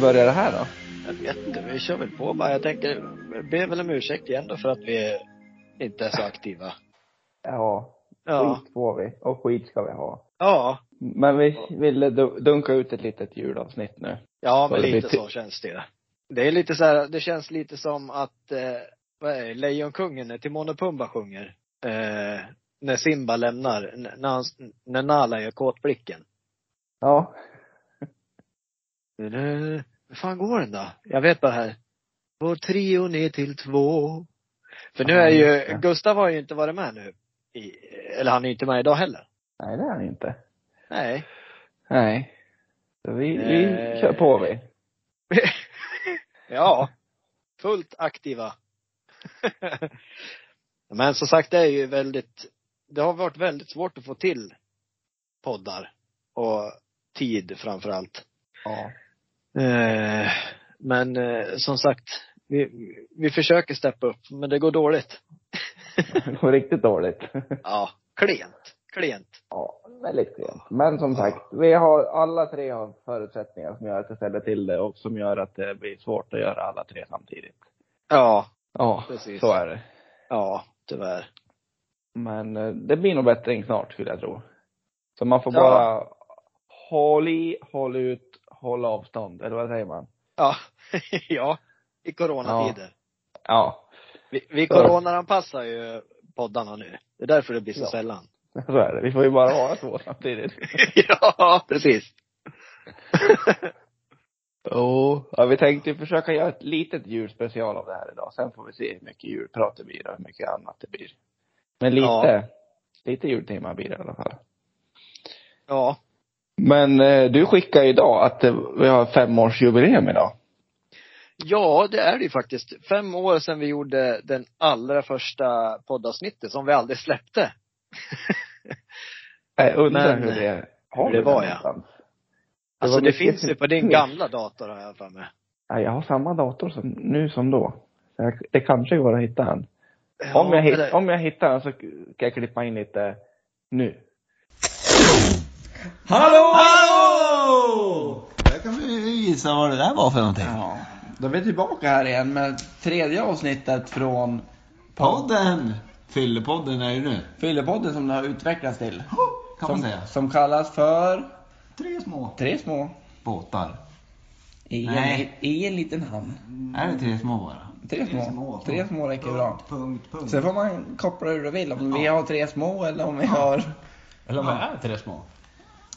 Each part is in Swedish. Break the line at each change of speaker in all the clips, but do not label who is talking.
börja det här då?
Jag vet inte, vi kör väl på bara. Jag tänker, be väl om ursäkt igen då för att vi inte är så aktiva.
Ja,
Ja.
skit får vi. Och skit ska vi ha.
Ja.
Men vi ville du- dunka ut ett litet julavsnitt nu.
Ja,
Ja,
men
det blir
lite
ti-
så känns det. Det är lite så här, det känns lite som att, eh, vad är det, Lejonkungen när Timon och Pumba sjunger. Eh, när Simba lämnar, n- när, han, när Nala gör kåtblicken.
Ja.
Hur fan går den då? Jag vet bara här. Vår trio ner till två. För nu
Ja,
är
just
ju,
det.
Gustav har ju inte varit med nu. I, eller han är ju inte med idag heller.
Nej, det är han inte.
Nej.
Nej. Så vi, vi
Eh.
kör på vi.
ja, fullt aktiva. Men som sagt, det är ju väldigt, det har varit väldigt svårt att få till poddar och tid framför allt.
Ja.
Eh, Men eh, som sagt, vi, vi försöker steppa upp, men det går dåligt.
Det går riktigt dåligt.
Ja, klent, klent.
Ja, väldigt sent. Men som sagt, vi har, alla tre har förutsättningar som gör att det ställer till det och som gör att det blir svårt att göra alla tre samtidigt.
Ja,
Ja,
Precis.
så är det.
ja, tyvärr.
Men eh, det blir nog bättring snart, skulle jag tro. Så man får
Ja.
bara håll i, håll ut, håll avstånd, eller vad säger man?
Ja, ja, i coronatider.
Ja,
Vi, vi
Så.
coronaanpassar ju poddarna nu. Det är därför det blir så
Ja.
sällan.
så är det. Vi får ju bara vara två samtidigt.
ja, precis.
Jo. Ja, vi tänkte ju försöka göra ett litet julspecial av det här idag. Sen får vi se hur mycket julprat det blir och hur mycket annat det blir. Men lite,
Ja.
lite jultema blir det i alla fall.
Ja.
Men eh, du skickar idag att eh, vi har femårsjubileum idag.
ja, det är det ju faktiskt. Fem år sedan vi gjorde den allra första poddavsnittet som vi aldrig släppte.
Jag Eh, undrar
Men, eh,
hur det har
hur det
vi
var,
den
ja.
någonstans?
Alltså
var
det,
mycket
finns ju på din
sniff.
gamla dator har jag för mig.
Ja, jag har samma dator som, nu som då. Så jag, det kanske går att hitta den. om,
Ja,
jag, hitt-
eller-
om jag hittar den så kan jag klippa in lite nu.
Hallå! Hallå! Där kan vi gissa vad det där var för någonting.
Ja, då är vi tillbaka här igen med tredje avsnittet från
Podden! Fyllepodden är det nu.
Fyllepodden som det har utvecklats till.
Kan man
Som,
säga.
som kallas för
Tre små
Tre små
båtar.
i en,
Nej.
i en liten hamn.
Är det tre små bara?
Tre små. Tre små räcker bra.
Punkt, punkt.
Sen får man koppla hur du vill. Om vi har tre små eller om vi har...
Eller om det är tre små.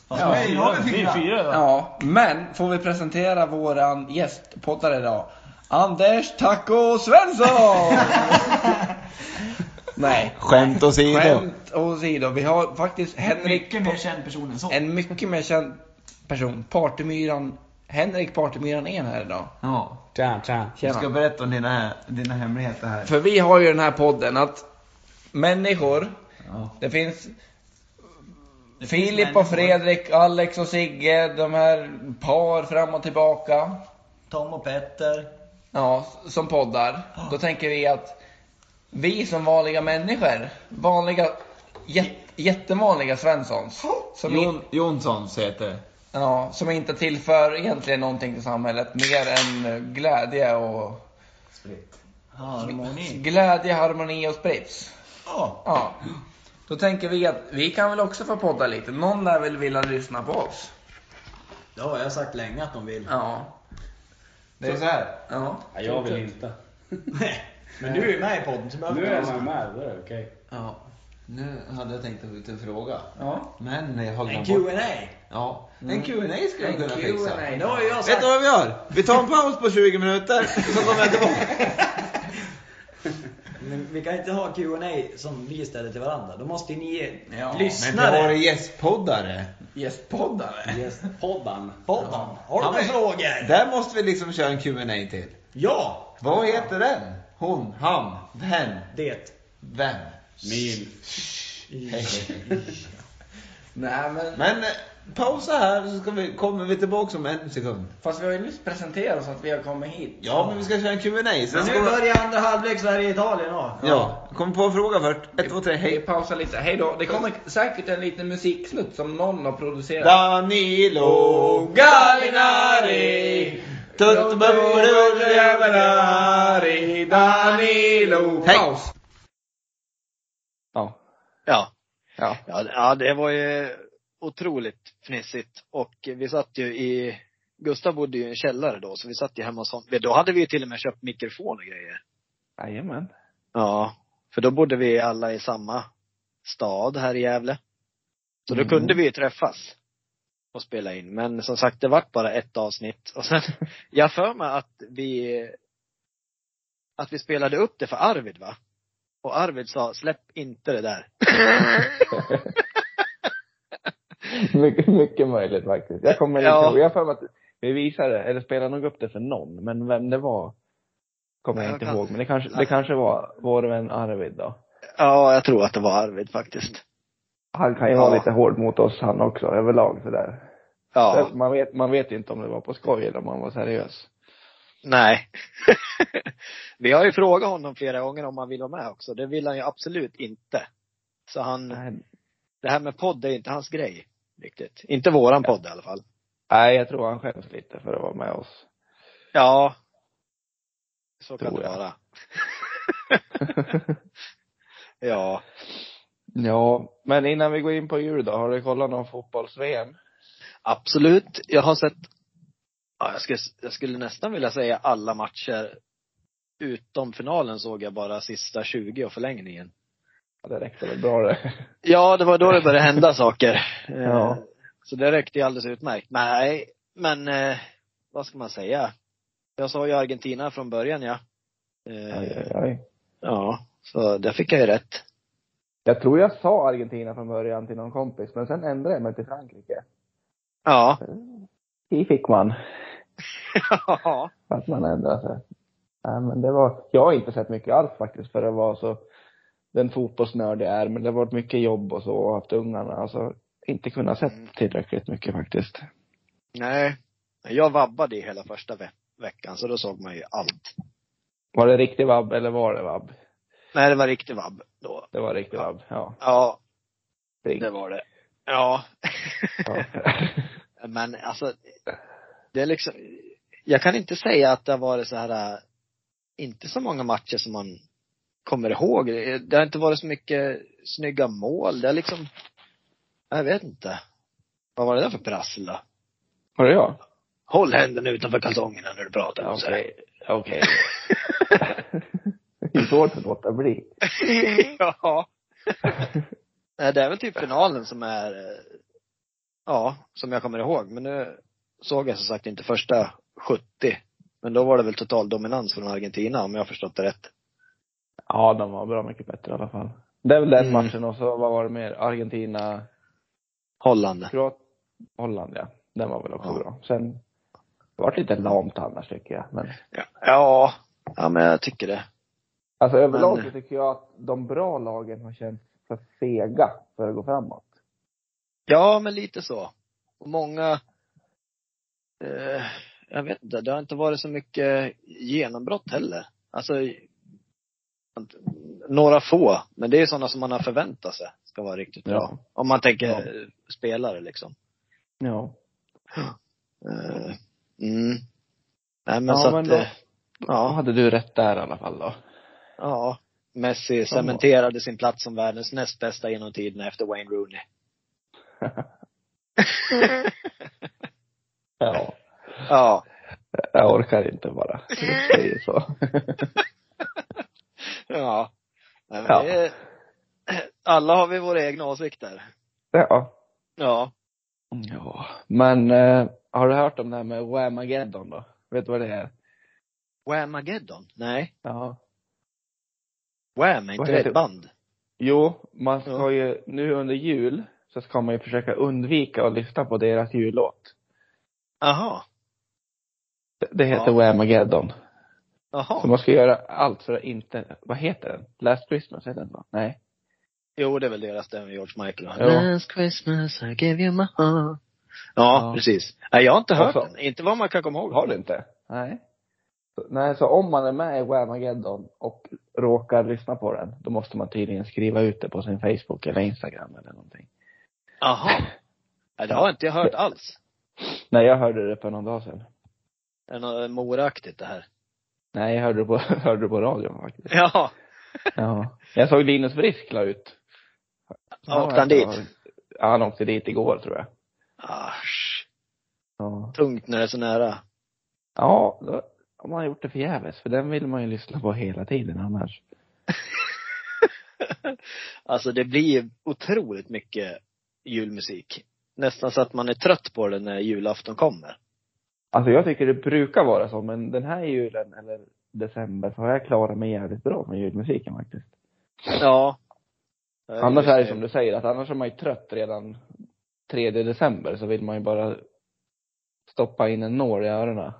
Fast
Ja,
det är
vi
fyra-
har väl
det är
fyra.
fyra va?
Ja, men får vi presentera våran gästpoddare idag? Anders Taco Svensson! Nej,
Skämt åsido.
skämt åsido. Vi har faktiskt Henrik,
Mycket mer känd person än så.
en mycket mer känd person, Partymyran, Henrik Partymyran är här idag.
Ja.
Tja, tja.
Jag ska
Tjena.
berätta om dina, dina hemligheter här.
För vi har ju den här podden att människor,
Ja.
det finns
Det finns
Filip
människor.
och Fredrik, Alex och Sigge, de här par fram och tillbaka.
Tom och Petter.
Ja, som poddar. Då tänker vi att vi som vanliga människor, vanliga, jät, jättevanliga Svenssons, som, in,
Jon, Jonssons heter det.
ja, som inte tillför egentligen någonting till samhället mer än eh, glädje och
Harmoni.
glädje, harmoni och sprits.
Ja.
Ja. Då tänker vi att vi kan väl också få podda lite. Någon lär väl vilja lyssna på oss.
Det har jag sagt länge att de vill.
Ja.
Det är så här.
Ja.
Ja, jag vill inte.
Men du är ju med i podden så behöver
Nu
du
är
inte
jag
vara
med, då är det okej.
Ja. Nu hade jag tänkt ut en fråga.
Ja.
Men jag har
med. En
glömt bort.
Q&A
Ja. En Q&A skulle jag
En
kunna fixa.
Q&A.
Det har ju jag
Vet
sagt.
du vad vi gör? Vi tar en paus på 20 minuter, så kommer jag tillbaka.
Men vi kan inte ha Q&A som vi ställer till varandra. Då måste ni ge
Ja, men
Men vi har
lyssnare.
en gästpoddare.
Gästpoddare.
Gästpoddan. Poddan. Har du
Han
några
är-
frågor?
Där måste vi liksom köra en Q&A till.
Ja.
Vad heter den? Hon, han, den,
Det.
vem?
Min.
Nej men,
Men eh, pausa här så ska vi, kommer vi tillbaka om en sekund.
fast vi har ju nyss presenterat oss att vi har kommit hit.
Ja, men vi ska köra en Q&A. Sen
Men nu
ska vi...
börjar andra halvlek Sverige-Italien då.
Ja, kom på en fråga först. Ett, två, tre,
Vi
hej.
pausar lite. Hej då. Det kommer säkert en liten musiksnutt som någon har producerat.
Danilo Gallinari e
Tuttbubbeljävelari Danilo
Hej.
Paus! Ja.
Ja.
Ja.
Ja, det- ja, det var ju otroligt fnissigt. Och vi satt ju i, Gustav bodde ju i en källare då, så vi satt ju hemma hos honom. Men Då hade vi ju till och med köpt mikrofon och grejer.
Jajamän.
Ja. För då bodde vi alla i samma stad här i Gävle. Så då
Mm.
kunde vi ju träffas och spela in. Men som sagt, det vart bara ett avsnitt. Och sen, jag har för mig att vi, att vi spelade upp det för Arvid va? Och Arvid sa, släpp inte det där.
mycket, mycket möjligt faktiskt. Jag kommer inte
Ja.
ihåg. Jag har för mig att vi visade, eller spelade nog upp det för någon, men vem det var kommer jag
Jag
inte
kan-
ihåg. Men det kanske, det kanske var vår vän Arvid då.
Ja, jag tror att det var Arvid faktiskt.
Han kan ju
Ja.
vara lite hård mot oss han också, överlag sådär.
Ja,
Man, vet, man vet ju inte om det var på skoj eller om han var seriös.
nej. Vi har ju frågat honom flera gånger om han vill vara med också. Det vill han ju absolut inte. Så han,
Nej,
det här med podd är inte hans grej riktigt. Inte våran podd i alla fall.
Nej, jag tror han skäms lite för att vara med oss.
Ja. Så kan
Tror
det
jag.
vara. ja.
ja, men innan vi går in på jul då, har du kollat någon fotbolls-VM?
Absolut. Jag har sett, ja, jag, skulle, jag skulle nästan vilja säga alla matcher. Utom finalen såg jag bara sista 20 och förlängningen.
Ja, det räckte väl bra det.
Ja, det var då det började hända saker. Eh,
Ja.
Så det räckte ju alldeles utmärkt. Nej, men eh, vad ska man säga? Jag sa ju Argentina från början ja. Eh,
Aj, aj, aj.
Ja, så där fick jag ju rätt.
Jag tror jag sa Argentina från början till någon kompis, men sen ändrade jag mig till Frankrike.
Ja.
Det fick man,
ja.
att man ändrade sig. Nej, men det var, jag har inte sett mycket alls faktiskt för att vara så, den fotbollsnörd jag är, men det har varit mycket jobb och så, och haft ungarna, alltså inte kunnat
Mm.
sett tillräckligt mycket faktiskt.
Nej. Jag vabbade i hela första ve- veckan så då såg man ju allt.
Var det riktig vabb eller var det vabb?
Nej, det var riktig vabb då.
Det var riktig vabb, ja.
Ja,
Ring.
det var det. Ja.
ja.
Men alltså, det är liksom, jag kan inte säga att det har varit så här, äh, inte så många matcher som man kommer ihåg. Det det har inte varit så mycket snygga mål. Det är liksom, jag vet inte. Vad var det där för prassel då?
Var det jag?
Håll händerna utanför kalsongerna när du pratar.
Ja,
så här.
Okej. Det är svårt att låta bli.
ja. Nej, det är väl typ finalen som är, eh, ja, som jag kommer ihåg. Men nu såg jag som sagt inte första 70. Men då var det väl total dominans från Argentina om jag har förstått det rätt.
Ja, de var bra mycket bättre i alla fall. Det är väl den
Mm.
matchen och så, vad var det mer? Argentina,
Holland.
Kroat, Holland ja. Den var väl också
Ja.
bra. Sen, det vart lite lamt annars tycker jag. Men,
Ja, ja men jag tycker det.
alltså överlag
Men-
så tycker jag att de bra lagen har känts för sega för att gå framåt.
Ja, men lite så. Och många, eh, jag vet inte, det har inte varit så mycket genombrott heller. Alltså, att- några få, men det är sådana som man har förväntat sig ska vara riktigt bra.
Ja.
Om man tänker
Ja.
eh, spelare liksom.
Ja.
Eh, mm. Nej men
Ja,
så
men
att,
då-
eh,
Då
ja,
hade du rätt där i alla fall då.
ja. Messi cementerade sin plats som världens näst bästa genom tiderna efter Wayne Rooney.
Ja.
Ja.
Jag orkar inte bara. Jag säger så.
Ja. Nej, men
Ja.
Det, alla har vi våra egna åsikter.
ja.
Ja.
Ja. Men, eh, har du hört om det här med Whamageddon då? Vet du vad det är?
Whamageddon? Nej.
Ja.
Wham, är inte
Vad
det
heter-
ett band?
Jo, man ska ju, nu under jul, så ska man ju försöka undvika att lyssna på deras jullåt.
Jaha.
Det- Det heter
Ja.
Whamageddon. Så
Jaha.
man ska göra allt för att inte, vad heter den? Last Christmas heter den va? Nej.
Jo, det är väl deras det med George Michael.
Ja.
Last Christmas I gave you my heart. Ja,
Ja.
precis. Nej, jag har inte hört
Alltså.
den. Inte vad man kan komma ihåg.
Har du inte? Nej. Så, nej, så om man är med i Whamageddon och råkar lyssna på den, då måste man tydligen skriva ut det på sin Facebook eller Instagram eller någonting.
Jaha. Nej, det har inte jag hört alls.
Nej, jag hörde det för någon dag sedan.
Är det något moraktigt det här?
Nej, jag hörde det på, hörde det på radion faktiskt.
Ja.
Ja. Jag såg Linus Frisk la ut.
åkte han dit?
Ja, han åkte dit igår tror jag.
Asch.
Ja.
Tungt när det är så nära.
Ja, då har man gjort det förgäves, för den vill man ju lyssna på hela tiden annars.
Alltså det blir otroligt mycket julmusik. Nästan så att man är trött på det när julafton kommer.
Alltså jag tycker det brukar vara så, men den här julen, eller december, så har jag klarat mig jävligt bra med julmusiken faktiskt.
Ja. Eh,
Annars är det som du säger, att annars är man ju trött redan 3 december, så vill man ju bara stoppa in en nål i öronen.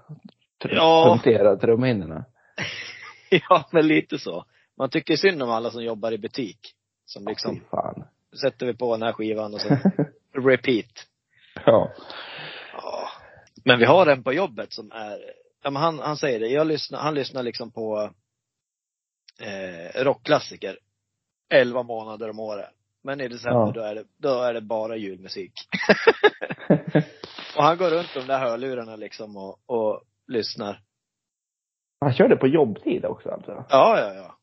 Tr-
Ja.
Punktera trumhinnorna.
Ja, men lite så. Man tycker synd om alla som jobbar i butik. Som
Fy
liksom,
fan.
sätter vi på den här skivan och så repeat.
Ja.
Ja. Men vi har en på jobbet som är, ja, men han, han säger det, jag lyssnar, han lyssnar liksom på eh, rockklassiker 11 månader om året. Men i december
Ja.
då, är det, då är det bara julmusik. och han går runt de där hörlurarna liksom och, och lyssnar.
Han körde på jobbtid också alltså.
Ja, ja, ja.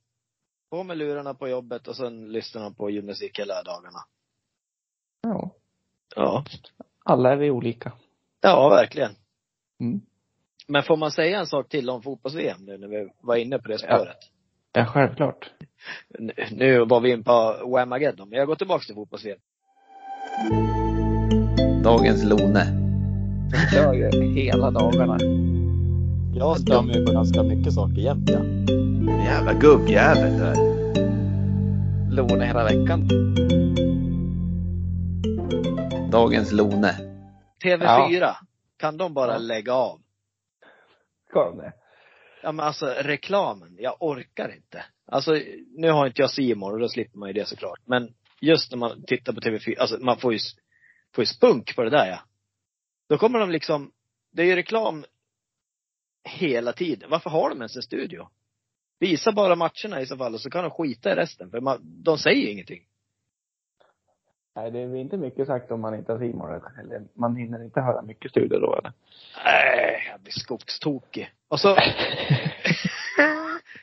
På med lurarna på jobbet och sen lyssnar han på julmusik hela dagarna.
Ja.
Ja.
Alla är vi olika.
Ja, verkligen.
Mm.
Men får man säga en sak till om fotbolls-VM nu när vi var inne på det spåret?
Ja, självklart.
N- Nu var vi in på Whamageddon, men jag går tillbaks till fotbolls-VM.
Dagens Lone. Kör ju hela dagarna.
Jag stör mig på ganska mycket saker jämt. Ja.
Jävla gubbjävel där.
Lone hela veckan.
Dagens Lone.
TV4, kan de bara
Ja.
lägga av?
Ska de det?
Ja men alltså reklamen, jag orkar inte. Alltså nu har inte jag C More och då slipper man ju det såklart. Men just när man tittar på TV4, alltså man får ju, s- får ju spunk på det där ja. Då kommer de liksom, det är ju reklam hela tiden. Varför har de ens en studio? Visa bara matcherna i så fall och så kan de skita i resten för man, de säger ju ingenting.
Nej, det är inte mycket sagt om man inte har simor eller man hinner inte höra mycket studier då eller?
Nej, Äh, jag blir skogstokig. Och så,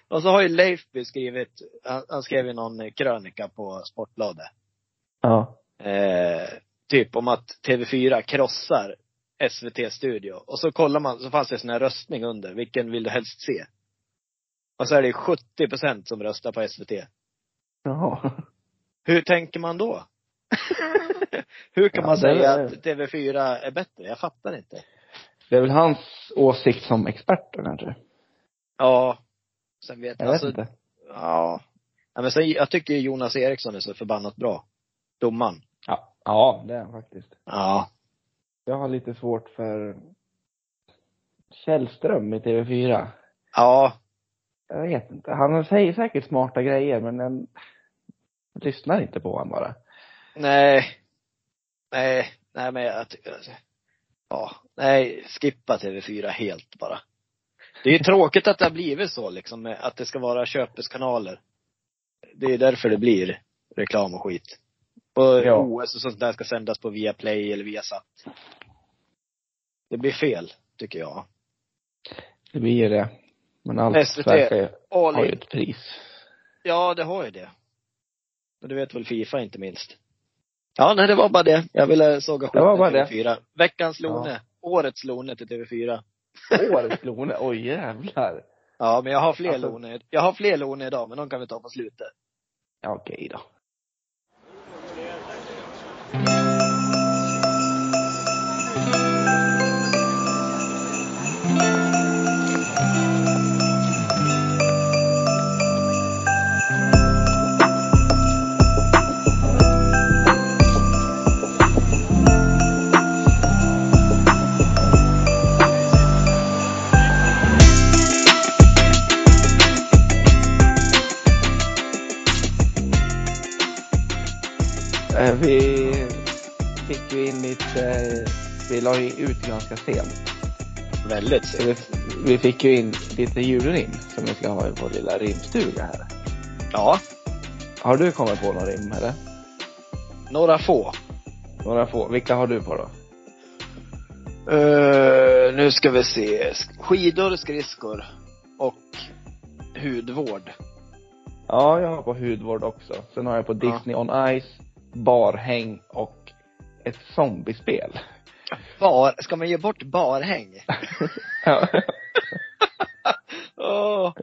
och så har ju Leifby skrivit, han, han skrev ju någon krönika på Sportbladet.
Ja.
eh, typ om att TV4 krossar SVT studio. Och så kollar man, så fanns det en sån här röstning under, vilken vill du helst se? Och så är det 70% som röstar på SVT.
Jaha.
Hur tänker man då? Hur kan
Ja,
man
det
säga
är-
att TV4 är bättre? Jag fattar inte.
Det är väl hans åsikt som expert då, kanske?
Ja. Sen vet
Jag
jag,
vet
alltså,
inte.
ja. ja. men sen, jag tycker ju Jonas Eriksson är så förbannat bra. Domaren.
Ja. Ja, det är han faktiskt.
Ja.
Jag har lite svårt för Källström i TV4.
Ja.
Jag vet inte. Han säger säkert smarta grejer, men jag lyssnar inte på honom bara.
Nej. Nej, nej men jag tycker, ja, nej, skippa TV4 helt bara. Det är ju tråkigt att det har blivit så liksom, med att det ska vara köpeskanaler. Det är ju därför det blir reklam och skit. Och
Ja.
OS och sånt där ska sändas på Viaplay eller Viasat. Det blir fel, tycker jag.
Det blir ju det. Men allt
SVT.
verkar ju
All
har ju
in.
ett pris.
Ja, det har ju det. Och det vet väl Fifa inte minst. Ja, nej det var bara det. Jag ville såga skiten
var bara
till
det.
TV4. Veckans Lone. Årets Lone till TV4.
Årets Lone, oj jävlar.
Ja, men jag har fler
Alltså-
Lone. Jag har fler Lone idag, men de kan vi ta på slutet.
Ja, okej då. Eh, Vi fick ju in lite, vi la ju ut ganska sent.
Väldigt
Så
sent.
vi, Eh, vi fick ju in lite julrim som vi ska ha i vår lilla rimstuga här.
Ja,
Har du kommit på några rim eller?
några få.
Några få. Vilka har du på då?
Eh, nu ska vi se. Skidor, skridskor och hudvård.
Ja, jag har på hudvård också. Sen har jag på Disney on Ice, barhäng och ett zombiespel.
Bar, ska man ge bort barhäng?
Ja.
Åh.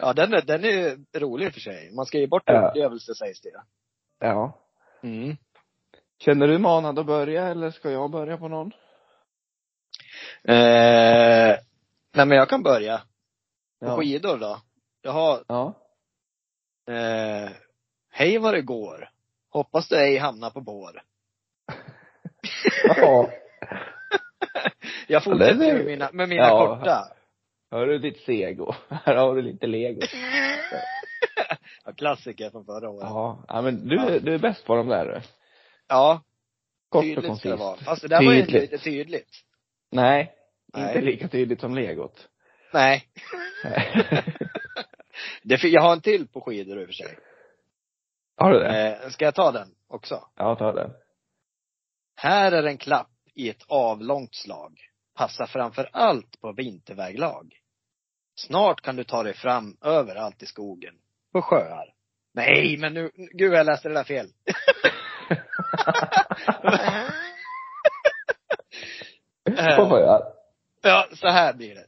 Ja, den är, den är ju rolig i och för sig. Man ska ge bort
Ja.
upplevelse sägs det.
ja.
Mm.
Känner du manad att börja eller ska jag börja på någon?
Eh, nej men jag kan börja. På
Ja.
skidor då. Jag har,
Ja.
eh, hej vad det går. Hoppas du ej hamnar på bår.
ja.
Jag fortsätter
det är-
med mina, med mina
Ja.
korta.
Hör du ditt sego? Här har du lite lego.
Ja, klassiker från förra året. Ja,
Ja. ja men du, är- du är bäst på de där du. Kort och
tydligt ska det
koncist.
vara. Fast det där var ju inte
Tydligt.
lite tydligt.
Nej. Inte
Nej.
lika tydligt som legot.
Nej.
Nej.
Det, fi- jag har en till på skidor i och för sig.
har du det?
Eh, ska jag ta den också?
Ja, ta den.
Här är en klapp i ett avlångt slag. Passa framför allt på vinterväglag. Snart kan du ta dig fram överallt i skogen. På sjöar. Nej, men nu, gud jag läste det där fel.
På
Eh,
sjöar.
ja, så här blir det.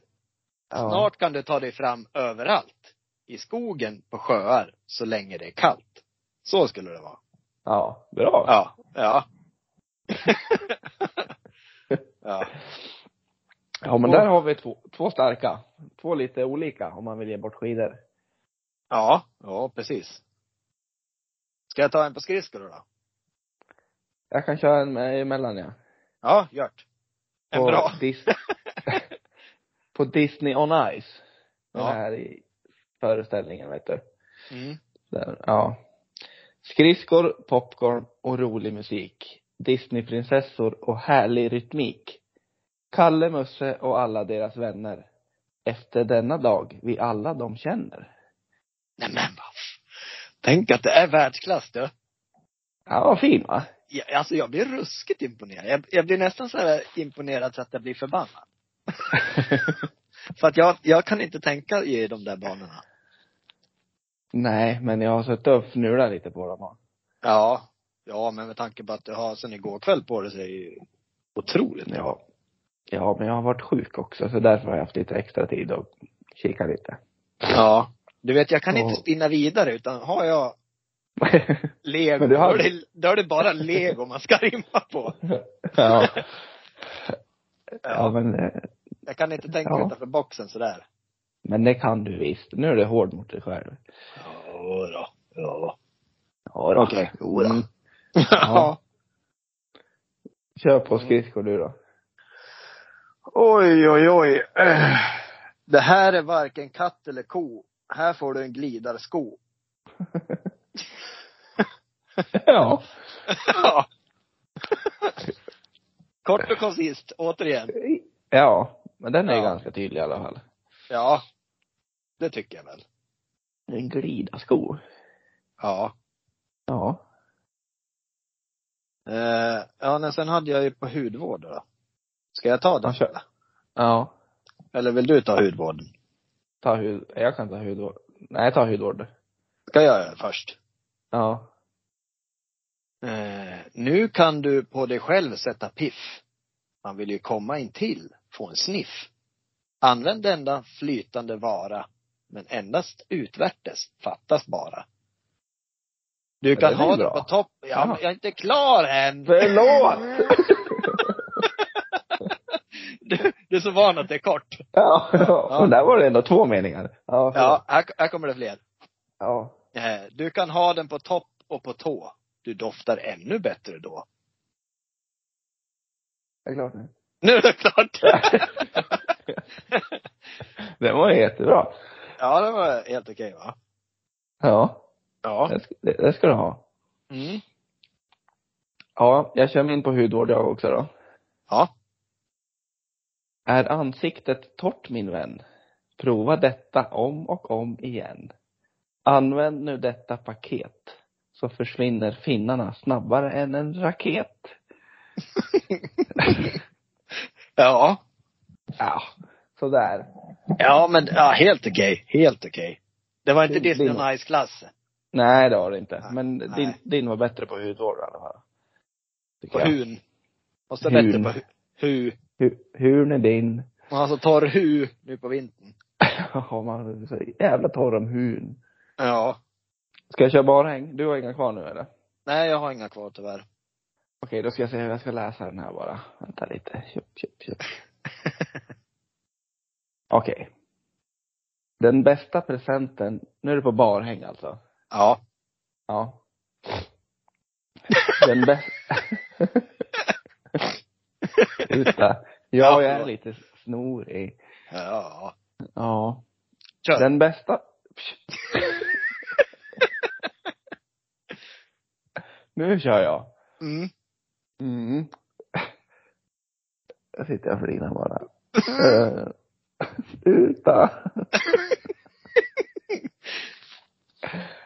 Ja.
Snart kan du ta dig fram överallt. I skogen, på sjöar, så länge det är kallt. Så skulle det vara.
Ja, bra.
Ja. Ja. ja.
Ja, men där har vi två, två starka. Två lite olika om man vill ge bort skidor.
Ja, ja precis. Ska jag ta en på skridskor då?
Jag kan köra en med- emellan ja.
Ja, gjort. En
På
bra.
Dis- på Disney on Ice. Den
Ja.
här i föreställningen vet du.
Mm.
Där, ja. Skridskor, popcorn och rolig musik. Disneyprinsessor och härlig rytmik. Kalle, Musse och alla deras vänner. Efter denna dag vi alla de känner.
Nej men vad f- Tänk att det är världsklass du.
Ja, vad fin va?
Jag, alltså jag blir ruskigt imponerad. Jag, jag blir nästan så här imponerad så att jag blir förbannad. För att jag, jag kan inte tänka i de där banorna.
Nej, men jag har suttit och fnulat lite på dem.
Ja. Ja, men med tanke på att du har sen igår kväll på dig så är det ju otroligt.
Ja. Ja, men jag har varit sjuk också så därför har jag haft lite extra tid att kika lite.
Ja. Du vet, jag kan
Ja.
inte spinna vidare utan har jag lego,
Men du har-
då, är det, då är det bara lego man ska rimma på.
ja. ja, men, eh,
Jag kan inte tänka
Ja.
utanför boxen sådär.
men det kan du visst. Nu är du hård mot dig själv.
Jodå. Ja.
Ja, då.
Okej.
Jodå. Mm.
ja.
Kör på skridskor du då.
Oj, oj, oj.
Äh.
Eh. Det här är varken katt eller ko. Här får du en glidarsko.
ja.
Ja. Kort och koncist, återigen.
Ja. Men den är
Ja.
ganska tydlig i alla fall.
Ja. Det tycker jag väl.
En glidarsko.
Ja.
Ja.
Eh, ja, men sen hade jag ju på hudvård då. Ska jag ta den?
Ja, kör. Ja.
Eller vill du ta hudvården?
Ta hud, jag kan ta hudvård. Nej, ta hudvård.
Ska jag göra det först?
Ja.
Eh, nu kan du på dig själv sätta piff. Man vill ju komma in till, få en sniff. Använd denna flytande vara, men endast utvärtes, fattas bara. Du
Men
kan
den är
ha
bra.
den på topp. Ja, men
Ja.
jag är inte klar än!
Förlåt!
Du, du är så van att det är kort.
Ja, ja. Och där var det ändå två meningar. Ja.
Ja, här, här kommer det fler.
ja.
Eh, Du kan ha den på topp och på tå. Du doftar ännu bättre då.
Det är klart nu.
Nu är det klart!
Den var ju jättebra.
Ja, det var helt okej va?
Ja.
Ja.
Det ska, det, det ska du ha.
Mm.
Ja, jag kör min på hudvård jag också då.
Ja.
Är ansiktet torrt min vän? Prova detta om och om igen. Använd nu detta paket så försvinner finnarna snabbare än en raket.
Ja.
Ja, sådär.
Ja, men ja, helt okej. Helt okej. Det var inte
Det-
Disney
det-
on Ice-klassen.
Nej, det var det inte. Men
Nej.
din, din var bättre på hudvård i alla fall. Tycker
På
jag.
hun. Måste
Hun.
bättre på hu. hu.
Hu- Hurn är din.
Alltså torr hu nu på vintern.
Ja, man är så jävla torr om hun.
Ja.
Ska jag köra barhäng? Du har inga kvar nu eller?
Nej, jag har inga kvar tyvärr.
Okej, då ska jag se hur jag ska läsa den här bara. Vänta lite. Tjup, tjup, tjup. Okej. Den bästa presenten, nu är det på barhäng alltså.
Ja.
Ja. Den bästa... Sluta. Ja, jag är lite snorig.
Ja.
Ja.
Kör.
Den bästa... nu kör jag.
Mm.
Mm. Jag sitter jag och flinar bara. Eh, Sluta.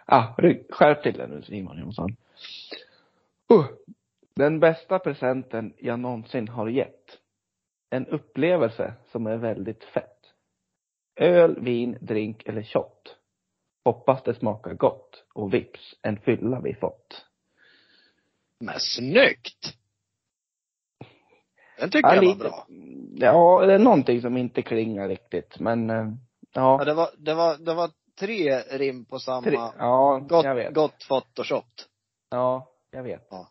ah, rygg- skärp till dig nu Simon Jonsson. Uh, den bästa presenten jag någonsin har gett. En upplevelse som är väldigt fett. Öl, vin, drink eller shot. Hoppas det smakar gott och vips, en fylla vi fått.
Men snyggt! Den tycker
Ja,
jag var
lite.
bra.
Ja, det är någonting som inte klingar riktigt, men eh, ja.
Ja, det, var, det, var, det var tre rim på samma.
Tre, ja, jag
Gott,
vet.
gott fått och shot.
Ja, jag vet.
Ja.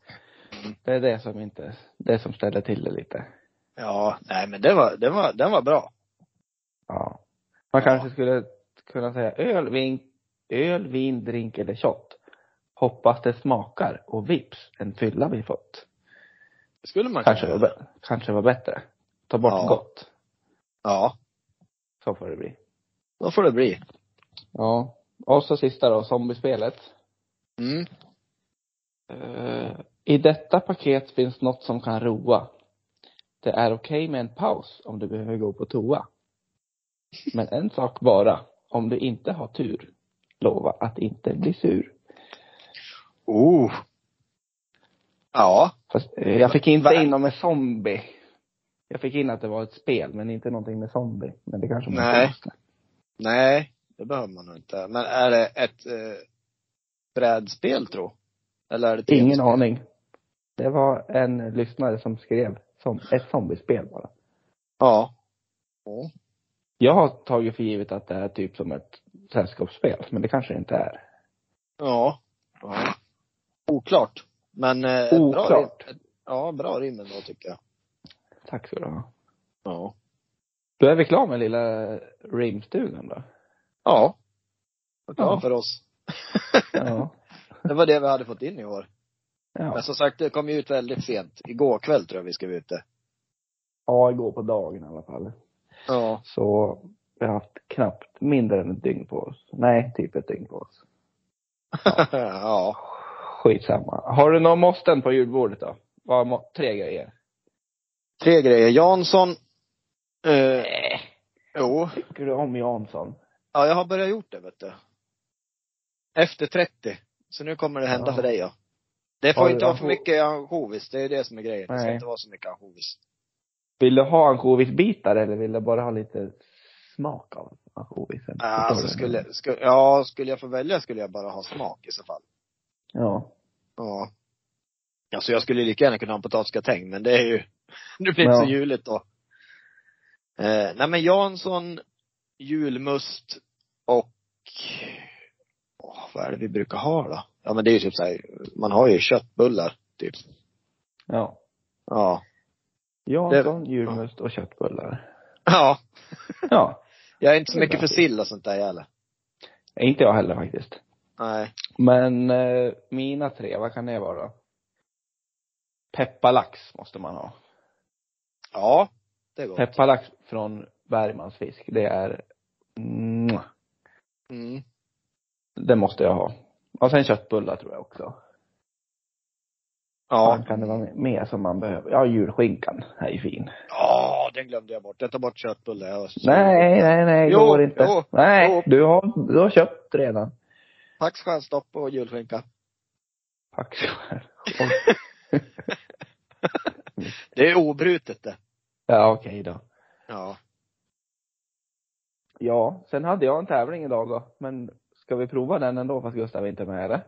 Det är det som inte, det som ställer till det lite.
Ja, nej men det var, det var, den var bra.
Ja. Man
Ja.
kanske skulle kunna säga öl, vin, öl, vin, drink eller shot. Hoppas det smakar och vips, en fylla vi fått.
Det skulle man
Kanske var,
kunna
bä- kanske var bättre. Ta bort
Ja.
gott.
Ja,
Så får det bli.
då får det bli.
Ja. Och så sista då, zombiespelet.
Mm.
Eh, I detta paket finns något som kan roa. Det är okej med en paus om du behöver gå på toa. Men en sak bara, om du inte har tur, lova att inte bli sur.
Oh. Ja.
Fast, eh, jag fick inte
Va-
in om en zombie. Jag fick in att det var ett spel, men inte någonting med zombie. Men det kanske man inte
Nej.
måste.
Nej, det behöver man nog inte. Men är det ett eh, brädspel tro? Eller är det ett
Ingen
tv-spel?
aning. Det var en lyssnare som skrev som ett zombiespel bara.
Ja.
Jag har tagit för givet att det är typ som ett sällskapsspel, men det kanske det inte är.
Ja. ja. Oklart. Men eh, ett bra rim.
Oklart.
Ja, bra rim ändå tycker jag.
Tack ska du ha.
Ja.
Då är vi klara med lilla rimstugan då.
Ja. Det var
Ja.
för oss.
Ja.
Det var det vi hade fått in i år.
Ja,
Men som sagt, det kom ju ut väldigt sent. Igår kväll tror jag vi skrev ut det.
ja igår på dagen i alla fall.
Ja.
Så vi har haft knappt mindre än ett dygn på oss. Nej, typ ett dygn på oss.
ja.
Skitsamma. Har du någon måsten på julbordet då? Vad må- tre grejer?
Tre grejer. Jansson. Eh, jo.
Tycker du om Jansson?
Ja, jag har börjat gjort det vet du. Efter 30. Så nu kommer det hända
Ja.
för dig ja. Det
Har
får
du
inte vara för
ansjo-
mycket ansjovis. Det är det som är grejen. Det ska
Nej.
inte vara så mycket ansjovis.
Vill du ha ansjovisbitar eller vill du bara ha lite smak av ansjovisen?
Ah,
Förstår
Alltså
du?
skulle, skulle, ja, skulle jag få välja skulle jag bara ha smak i så fall.
Ja.
Ja. Alltså jag skulle lika gärna kunna ha en potatisgratäng, men det är ju, det blir inte
Ja.
så juligt då. Eh, nej men Jansson, julmust och, åh, vad är det vi brukar ha då? Ja men det är ju typ så här, man har ju köttbullar, typ.
Ja.
Ja.
Jansson, julmust och köttbullar.
Ja.
Ja.
Jag är inte så
Det är
mycket för
bra.
sill och sånt där heller.
Inte jag heller faktiskt.
Nej.
Men eh, mina tre, vad kan det vara då? Pepparlax måste man ha.
Ja. Det är gott.
Pepparlax från Bergmans fisk, det är mm,
Mm.
det måste jag ha. Och sen köttbullar tror jag också.
Ja.
Fan, Kan det vara mer som man behöver? Ja, julskinkan är ju fin.
Ja, den glömde jag bort. Jag tar bort köttbullar. Jag var så-
Nej, nej, nej,
Jo,
går inte.
jo,
nej,
jo.
Du, har, du har köpt redan.
Tack ska du ha, stopp och julskinka.
Tack så mycket.
Det är obrutet det.
Ja, okej då.
Ja.
Ja, sen hade jag en tävling idag då, men ska vi prova den ändå fast Gustav inte är med eller?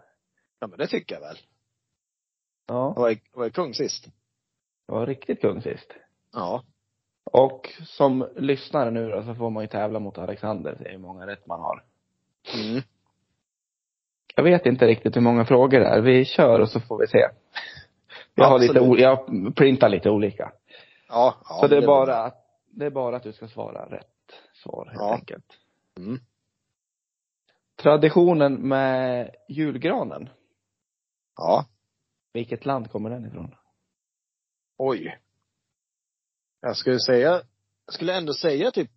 ja, men det tycker jag väl. Jag
Ja,
var, jag var kung sist.
det var riktigt kung sist.
Ja.
Och som lyssnare nu då så får man ju tävla mot Alexander, det är hur många rätt man har.
Mm.
Jag vet inte riktigt hur många frågor det är. Vi kör och så får vi se. Jag, har lite,
Absolut.
o- jag printar lite olika.
Ja, ja,
så det är,
var-
bara att, det är bara att du ska svara rätt svar helt
Ja.
enkelt.
Mm.
Traditionen med julgranen,
Ja.
vilket land kommer den ifrån?
Oj. Jag skulle säga, jag skulle ändå säga typ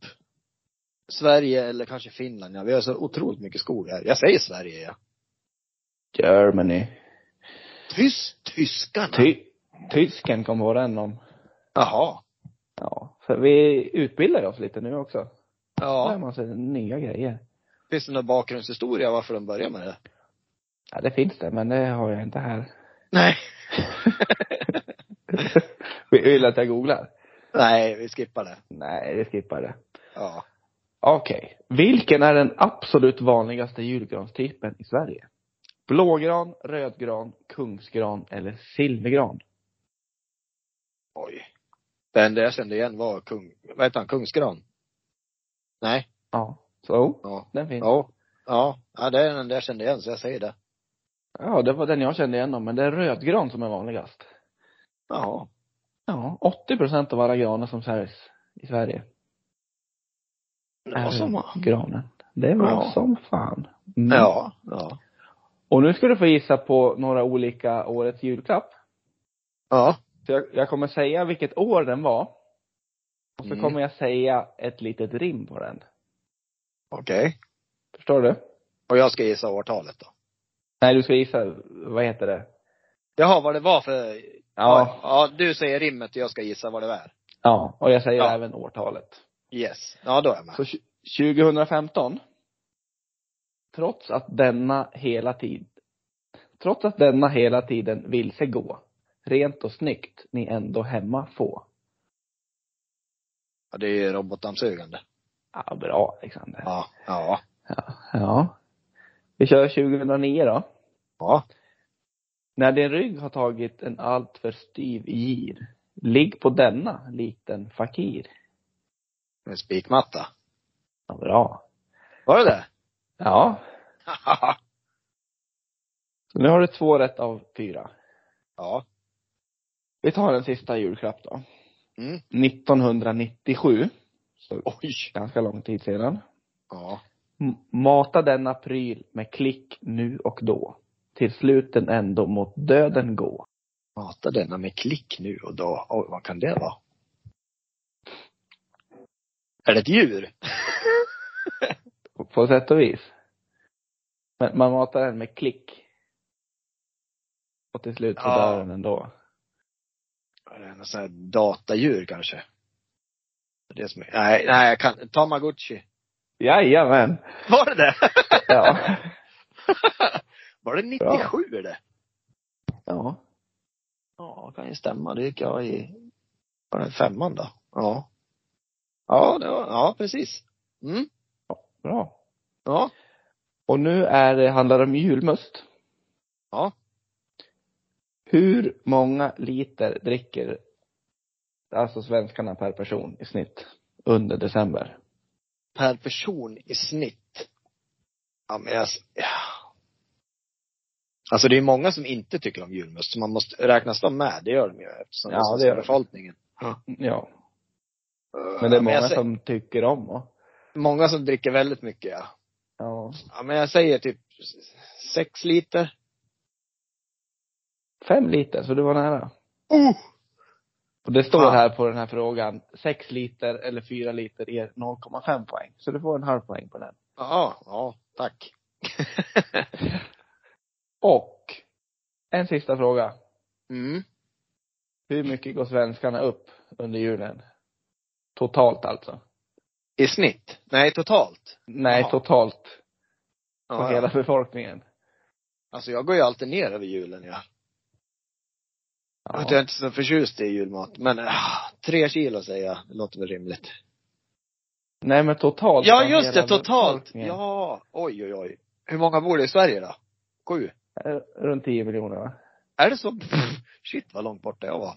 Sverige eller kanske Finland. Ja, vi har så otroligt mycket skog här. Jag säger Sverige, ja.
Germany.
Tys, tyskarna.
Ty, tysken kom på den om.
Jaha.
Ja, så vi utbildar oss lite nu också. Lär
Ja.
man sig nya grejer.
Finns det någon bakgrundshistoria varför de börjar med det?
Ja, det finns det, men det har jag inte här.
Nej.
Vi vill att jag googlar.
Nej, vi skippar det.
Nej, vi skippar det.
Ja.
Okej. Vilken är den absolut vanligaste julgranstypen i Sverige? Blågran, rödgran, kungsgran eller silvergran?
Oj. Det enda jag kände igen var kung, vad heter han, kungsgran? Nej.
Ja. Så,
Ja.
den finns.
Ja. Ja. Ja, det är den enda jag kände igen, så jag säger det.
Ja, det var den jag kände igen om, men det är rödgran som är vanligast.
Jaha.
Ja, 80 procent av alla granar som säljs i Sverige
Det
är
var som,
granen. Det var
Ja.
som fan. Mm.
ja. Ja.
Och nu ska du få gissa på några olika årets julklapp.
Ja.
Så jag, jag kommer säga vilket år den var. Och så
Mm.
kommer jag säga ett litet rim på den.
Okej.
Förstår du?
Och jag ska gissa årtalet då.
Nej, du ska gissa, vad heter det?
Jaha, vad det var för...
Ja.
Ja, du säger rimmet och jag ska gissa vad det är.
Ja, och jag säger
Ja.
även årtalet.
Yes. Ja, då är jag med.
Så tj- 2015. Trots att denna hela tid, trots att denna hela tiden vilse gå, rent och snyggt ni ändå hemma få.
Ja, det är ju robotdammsugande.
Ja, bra Alexander.
Ja. Ja.
Ja. Vi kör 2009 då.
Ja.
När din rygg har tagit en alltför styv gir, ligg på denna liten fakir.
En spikmatta.
Ja, bra.
Var det det?
Ja. Så nu har du två rätt av fyra.
ja.
Vi tar en sista julklapp då.
Mm.
1997,
Oj.
ganska lång tid sedan.
Ja.
M- Mata denna pryl med klick nu och då. Till slut den ändå mot döden gå.
Mata denna med klick nu och då. Oj, vad kan det vara? Är det ett djur?
På- På sätt och vis. Men man matar den med klick. Och till slut så
Ja.
dör den ändå.
Är det något sånt här datadjur kanske? Det är som, nej, nej, jag kan Tamagotchi.
Jajamän!
Var det det?
Ja.
Var det 97 det?
ja.
Ja, kan ju stämma. Det gick jag i, var det femman då? Ja. Ja, det var, ja precis. Mm,
Bra.
ja.
Och nu är det, handlar det om julmust.
Ja.
Hur många liter dricker alltså svenskarna per person i snitt under december?
Per person i snitt. Ja, men jag, s- ja. Alltså det är många som inte tycker om julmust, så man måste, räknas de med? Det gör de ju eftersom
Ja,
är
det gör de.
befolkningen.
Ja, men det är
Ja,
många
jag sä-
som tycker om och,
Många som dricker väldigt mycket ja.
ja.
Ja men jag säger typ s- sex liter.
Fem liter, så du var nära.
Oh!
Och det står
Fan.
här på den här frågan, sex liter eller fyra liter ger 0,5 poäng. Så du får en halv poäng på den.
Ja, ja, tack.
Och en sista fråga.
Mm.
Hur mycket går svenskarna upp under julen? Totalt alltså?
I snitt? Nej, totalt.
Nej,
Jaha.
totalt. På
Ja,
hela
ja.
befolkningen.
Alltså jag går ju alltid ner över julen ja.
Ja,
Att jag inte är så förtjust i julmat. Men ah, tre kilo säger jag. Det låter väl rimligt.
Nej men totalt.
Ja
av
just
hela
det, totalt.
befolkningen.
Ja, oj oj oj. Hur många bor det i Sverige då? Sju?
Eh, Runt 10 miljoner va?
Är det så? Pff, shit vad långt borta jag var.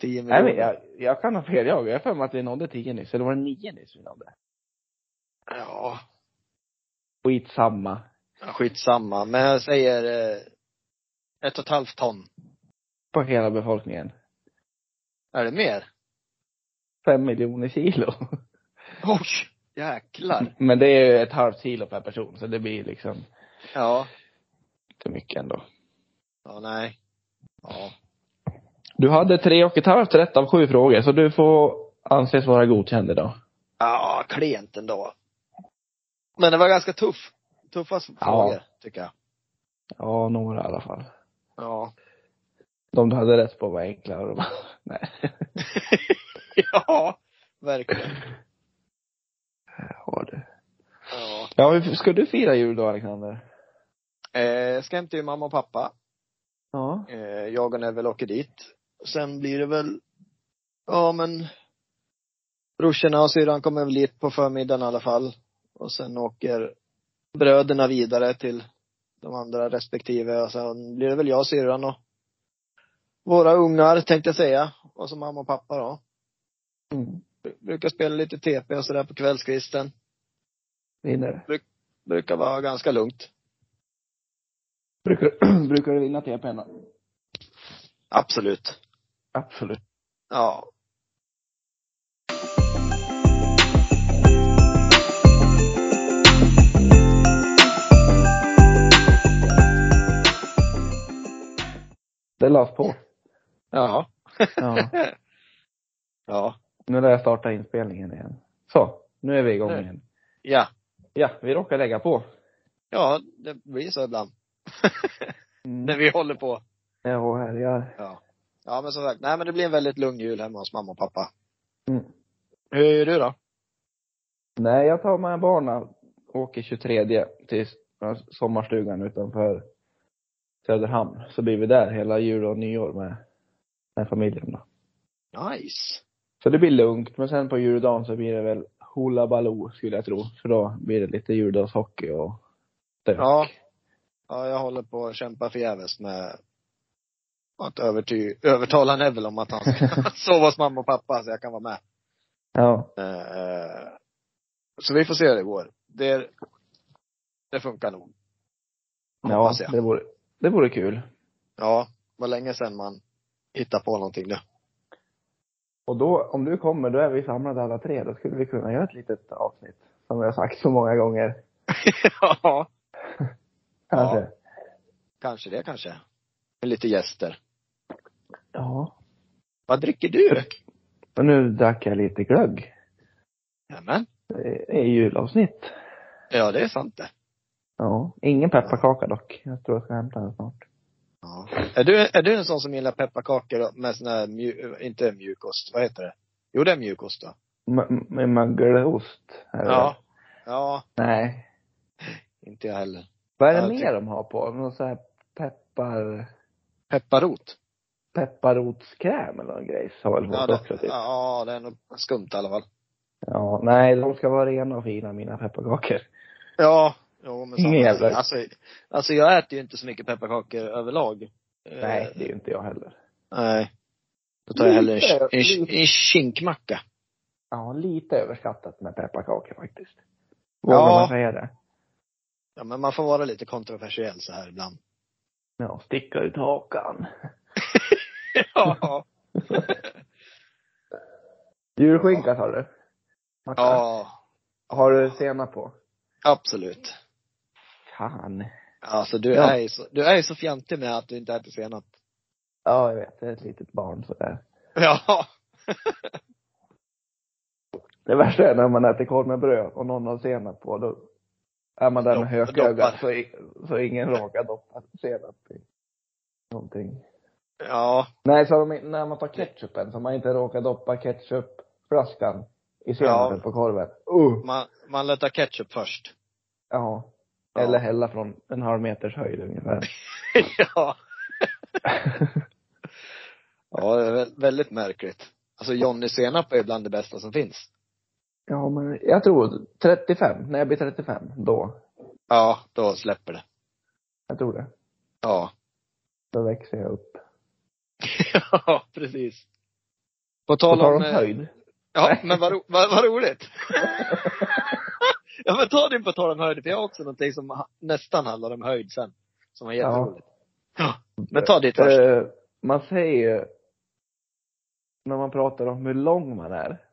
Tio
Nej
miljoner.
men jag, jag kan ha fel jag. Jag har för mig att vi nådde 10 nyss, eller var det 9 nyss vi nådde?
Ja,
Skitsamma.
skitsamma. Men jag säger eh, ett och ett halvt ton.
På hela befolkningen.
Är det mer?
5 miljoner kilo.
Oj, jäklar.
Men det är ju ett halvt kilo per person, så det blir liksom
Ja.
inte mycket ändå.
Ja, nej. Ja.
Du hade tre och ett halvt rätt av sju frågor, så du får anses vara godkänd idag.
Ja, klent ändå. Men det var ganska tuff. Tuffa frågor, tycker jag.
Ja, några i alla fall.
Ja.
De du hade rätt på var enklare. och de- Nej.
ja, verkligen.
Ja, du.
Ja.
Ja, hur ska du fira jul då, Alexander?
Eh, ska hem till mamma och pappa.
Ja.
Eh, jag och Neville åker dit. Sen blir det väl, ja men, brorsorna och syrran kommer väl dit på förmiddagen i alla fall. Och sen åker bröderna vidare till de andra respektive. Och sen blir det väl jag, syrran och våra ungar tänkte jag säga. Och så mamma och pappa då.
Mm.
Brukar spela lite TP och sådär på kvällskvisten.
Vinner.
Brukar vara ganska lugnt.
Brukar, brukar du vinna TPn då?
Absolut.
Absolut.
Ja.
Det lades på.
Ja.
Ja.
Ja.
Nu lär jag starta inspelningen igen. Så, nu är vi igång
Nu.
igen.
Ja.
Ja, vi råkar lägga på.
Ja, det blir så ibland. När
Mm.
vi håller på.
Ja, herregud.
Ja. Ja, men som sagt, nej men det blir en väldigt lugn jul hemma hos mamma och pappa.
Mm.
Hur är du då?
Nej, jag tar med barnen. Åker 23 till sommarstugan utanför Söderhamn. Så blir vi där hela jul och nyår med, med familjen då.
Nice.
Så det blir lugnt. Men sen på juldagen så blir det väl Hoola Baloo skulle jag tro. För då blir det lite juldagshockey och stök.
Ja. Ja, jag håller på att kämpa förgäves med att överty- övertala Neville om att han ska sova hos mamma och pappa så jag kan vara med.
ja.
Eh, eh, Så vi får se hur det går. Det, det funkar nog.
Ja,
Hoppas jag.
det vore, det vore kul.
Ja, var länge sedan man hittar på någonting nu.
Och då, om du kommer, då är vi samlade alla tre. Då skulle vi kunna göra ett litet avsnitt. Som jag har sagt så många gånger.
ja.
Kanske. Ja.
Kanske det kanske. Med lite gäster.
ja.
Vad dricker du?
Och nu drack jag lite glögg.
Nämen.
Det är julavsnitt.
Ja, det är sant det.
Ja. Ingen pepparkaka dock. Jag tror jag ska hämta den snart.
Ja. Är, du, är du en sån som gillar pepparkakor med sån här, mju- inte mjukost, vad heter det? Jo, det är mjukost då.
M- m- Med mögelost. är det
Ja. Ja,
det? Nej.
inte jag heller.
Vad är
Ja,
det
jag
mer
tycker-
de har på? Någon sån här peppar,
Pepparrot?
pepparrotskräm eller någon grej? Har väl
Ja,
fått också
det,
typ. Ja.
ja, det är nog skumt i alla fall.
Nej, de ska vara rena och fina mina pepparkakor.
Ja, jo men
Ingen
sant.
jävla-
Alltså, alltså jag äter ju inte så mycket pepparkakor överlag.
Nej, det är
Eh,
ju inte jag heller.
nej. Då tar jag hellre en,
Lite,
en, en kinkmacka.
Ja, lite överskattat med pepparkakor faktiskt. Vågar
Ja.
man säga det?
Ja, men man får vara lite kontroversiell så här ibland.
Ja, sticka ut hakan.
Ja.
Julskinka sa du? Macka.
Ja,
Har du senap på?
absolut.
Fan.
Alltså du
Ja.
är ju så, du är ju så fjantig med att du inte äter senap.
Ja, jag vet. Jag är ett litet barn sådär.
Ja.
Det värsta är när man äter korv med bröd och någon har senap på. Då är man där med
Dopp-
hökögat
doppar.
så, i- så ingen råkar doppa senap i någonting.
Ja.
Nej, så har de, när man tar ketchupen så har man inte råkar doppa ketchupflaskan i senapen
Ja.
på korven. Uh.
Man, man lättar ketchup först.
Ja.
Ja.
Eller hälla från en halv meters höjd ungefär.
ja. Ja, det är vä- väldigt märkligt. Alltså Johnny Senap är bland det bästa som finns.
Ja, men jag tror 35, när jag blir 35, då.
Ja, då släpper det.
Jag tror det.
Ja.
Då växer jag upp.
ja, precis. På
På
tal
tal om
om... eh,
höjd.
Ja, men vad, ro, vad, vad roligt. ja, men ta din på tal om höjd, för jag har också någonting som ha- nästan handlar om höjd sen. Som var jätteroligt. Ja. Men ta ditt först.
Eh, man säger ju, när man pratar om hur lång man är,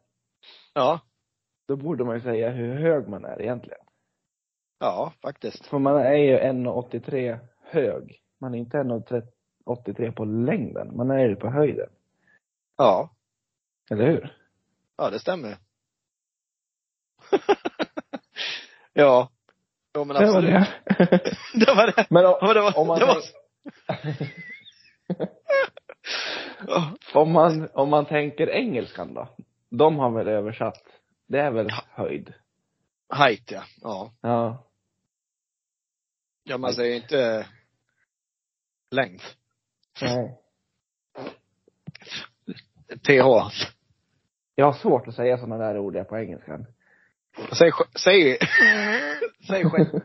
Ja.
då borde man ju säga hur hög man är egentligen.
Ja, faktiskt.
För man är ju 1,83 hög. Man är inte 1,83 på längden, man är ju på höjden.
Ja.
Eller hur?
Ja, det stämmer. ja. Jo, men
Det var
absolut.
det.
Det var det.
Men om,
Ja, men det var,
om man
det var,
tänker- om, man, om man tänker engelskan då. De har väl översatt. Det är väl höjd?
height ja. ja.
Ja.
Ja, man säger ju inte eh, längd.
Nej.
TH.
Jag har svårt att säga sådana där ord jag på engelskan.
Säg, sj- säg, Mm. säg, sjätte,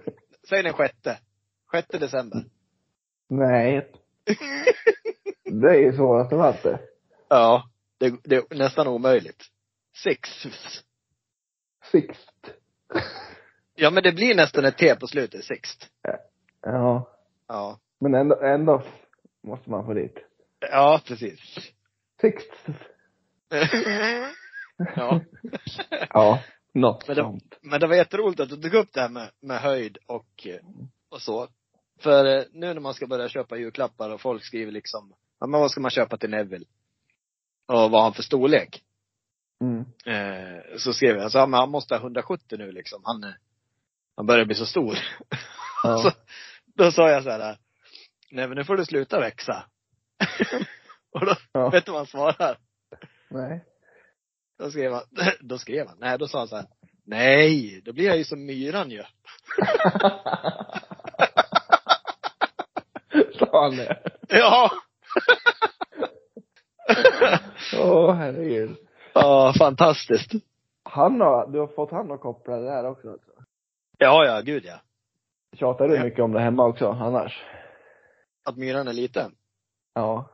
säg den sjätte. Sjätte december.
Nej. Det är ju svårast av allt det.
Ja. Det, det är nästan omöjligt. Six.
Sixt.
Ja, men det blir nästan ett T på slutet. Sixt.
Ja.
Ja.
Men ändå, ändå måste man få dit.
Ja, precis.
Sixt.
Mm. ja.
Ja. Något
Men det-
sånt.
Men det var jätteroligt att du tog upp det här med, med höjd och, eh, och så. För eh, nu när man ska börja köpa julklappar och folk skriver liksom, ja, men vad ska man köpa till Neville? Och vad har han för storlek?
Mm.
Eh, så skrev jag, så, ja, men han måste ha 170 nu liksom. Han, eh, han börjar bli så stor.
Ja.
Så, då sa jag så här, nej men nu får du sluta växa. och då,
Ja.
vet du vad han svarar?
Nej.
Då skrev han, då skrev han, nej då sa han så här, nej, då blir jag ju som myran ju.
Sa han det?
Ja!
Åh herregud.
Ja, fantastiskt.
Han har, du har fått han att koppla det där också alltså.
Ja, ja, gud ja.
Tjatar du
Ja.
mycket om det hemma också annars?
Att myran är liten.
Ja.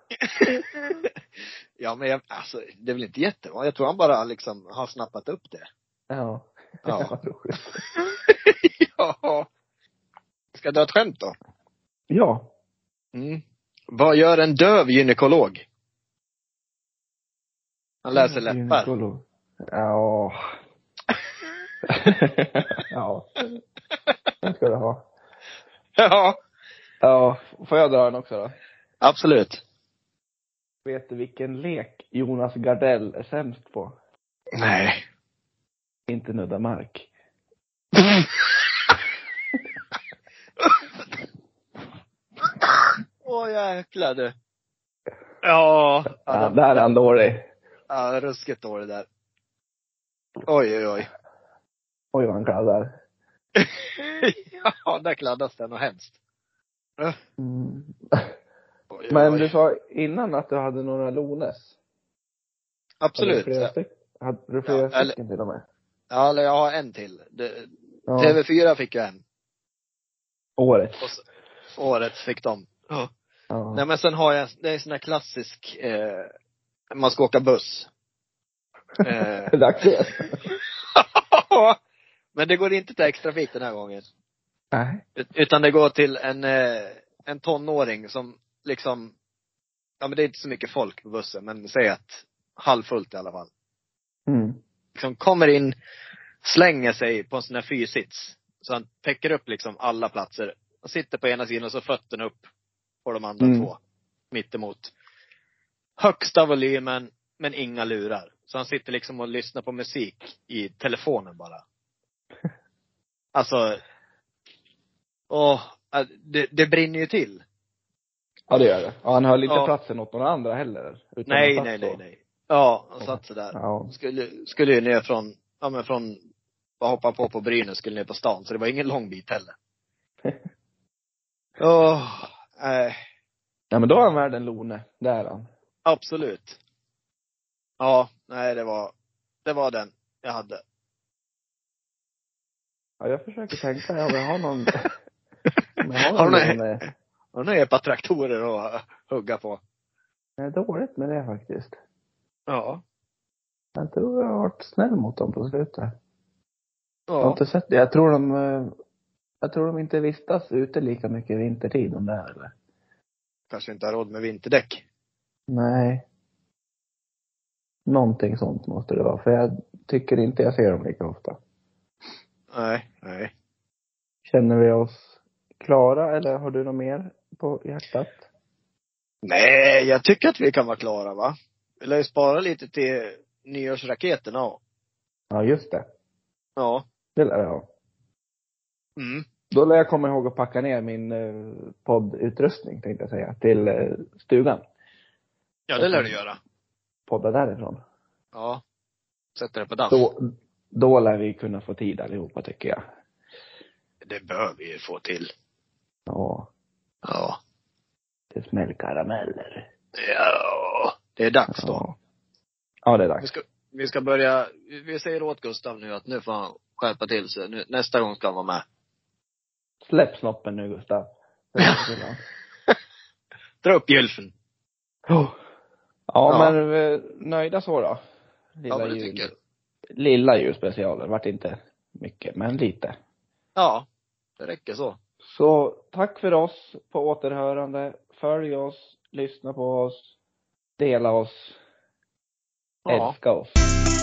Ja, men jag, alltså, det är väl inte jättevanligt. Jag tror han bara liksom har snappat upp det.
Ja.
Ja.
Vad roligt.
ja. Ska jag dra ett skämt då?
ja.
Mm. Vad gör en döv gynekolog? Han läser läppar.
Mm, Gynekolog. Ja. ja. Den ska du ha.
Ja,
Ja, får jag dra den också då?
absolut.
Vet du vilken lek Jonas Gardell är sämst på?
Nej.
Inte nudda mark.
Åh jäklar du. Ja.
Ja, där är han dålig.
Ja, ruskigt dålig där. Oj, oj, oj.
Oj vad han kladdar.
ja, där kladdas den och hemskt.
Mm.
Oj, oj,
Men
oj.
du sa innan att du hade några Lones. Hade du
Absolut.
flera,
Ja,
styck, hade du flera
Ja, eller-
stycken till och med?
eller jag har en till. Det,
Ja.
TV4 fick jag en.
Året.
Och så, årets fick de.
Ja.
Nej men sen har jag, det är en sån här klassisk, eh, man ska åka buss. Eh,
Det är dags igen.
men det går inte till extrafik den här gången.
Nej.
Ut- Utan det går till en, eh, en tonåring som liksom, ja men det är inte så mycket folk på bussen, men säg att halvfullt i alla fall.
Mm.
Liksom kommer in, slänger sig på en sån här fyrsits. Så han täcker upp liksom alla platser. Han sitter på ena sidan och så fötterna upp på de andra
Mm.
två. Mittemot. Högsta volymen, men inga lurar. Så han sitter liksom och lyssnar på musik i telefonen bara. Alltså, åh, äh, det, det brinner ju till.
Ja det gör det. Ja, han höll inte
Ja.
platsen åt några andra heller. utan
Nej,
han
nej,
satt
nej,
så.
nej. Ja, han satt sådär.
Ja.
skulle, skulle ju ner från, ja men från, bara hoppa på på Brynäs, skulle ner på stan. Så det var ingen lång bit heller. Åh, nej.
ja men då är han värd en Lone. Det är han.
Absolut. Ja, nej det var, det var den jag hade.
Ja, jag försöker tänka om jag har någon, om jag
Har
har
du
någon,
någon-
någon eh,
Och nu är det bara traktorer att hugga på.
jag är dåligt med det faktiskt.
Ja.
Jag tror jag har varit snäll mot dem på slutet. Jag har
Ja.
inte sett det. Jag tror de, eh, jag tror de inte vistas ute lika mycket vintertid om det här eller?
Kanske inte har råd med vinterdäck.
Nej. Någonting sånt måste det vara, för jag tycker inte jag ser dem lika ofta.
Nej, nej.
Känner vi oss klara eller har du något mer på hjärtat?
Nej, jag tycker att vi kan vara klara va? Vi lär ju spara lite till nyårsraketerna och-
Ja, just det.
Ja.
Det lär jag ha.
Mm.
Då lär jag komma ihåg att packa ner min eh, poddutrustning, tänkte jag säga, till eh, stugan.
Ja, det lär du göra.
Podda därifrån.
Ja. Sätter det på dans.
Då, då lär vi kunna få tid allihopa, tycker jag.
Det bör vi ju få till.
Ja,
Ja.
det smällkarameller.
Ja. Det är dags då.
Ja. ja, det är
Vi
dags.
ska, vi ska börja, vi säger åt Gustav nu att nu får han skärpa till sig. Nu, nästa gång ska han vara med.
Släpp snoppen nu, Gustav.
Dra upp gylfen.
Ja,
Ja.
Oh. men eh, nöjda så då.
Ja, vad
jul-
du tycker.
Lilla julspecialen, vart inte mycket, men lite.
Ja. Det räcker så.
Så tack för oss, på återhörande. Följ oss, lyssna på oss, dela oss,
Ja.
älska oss.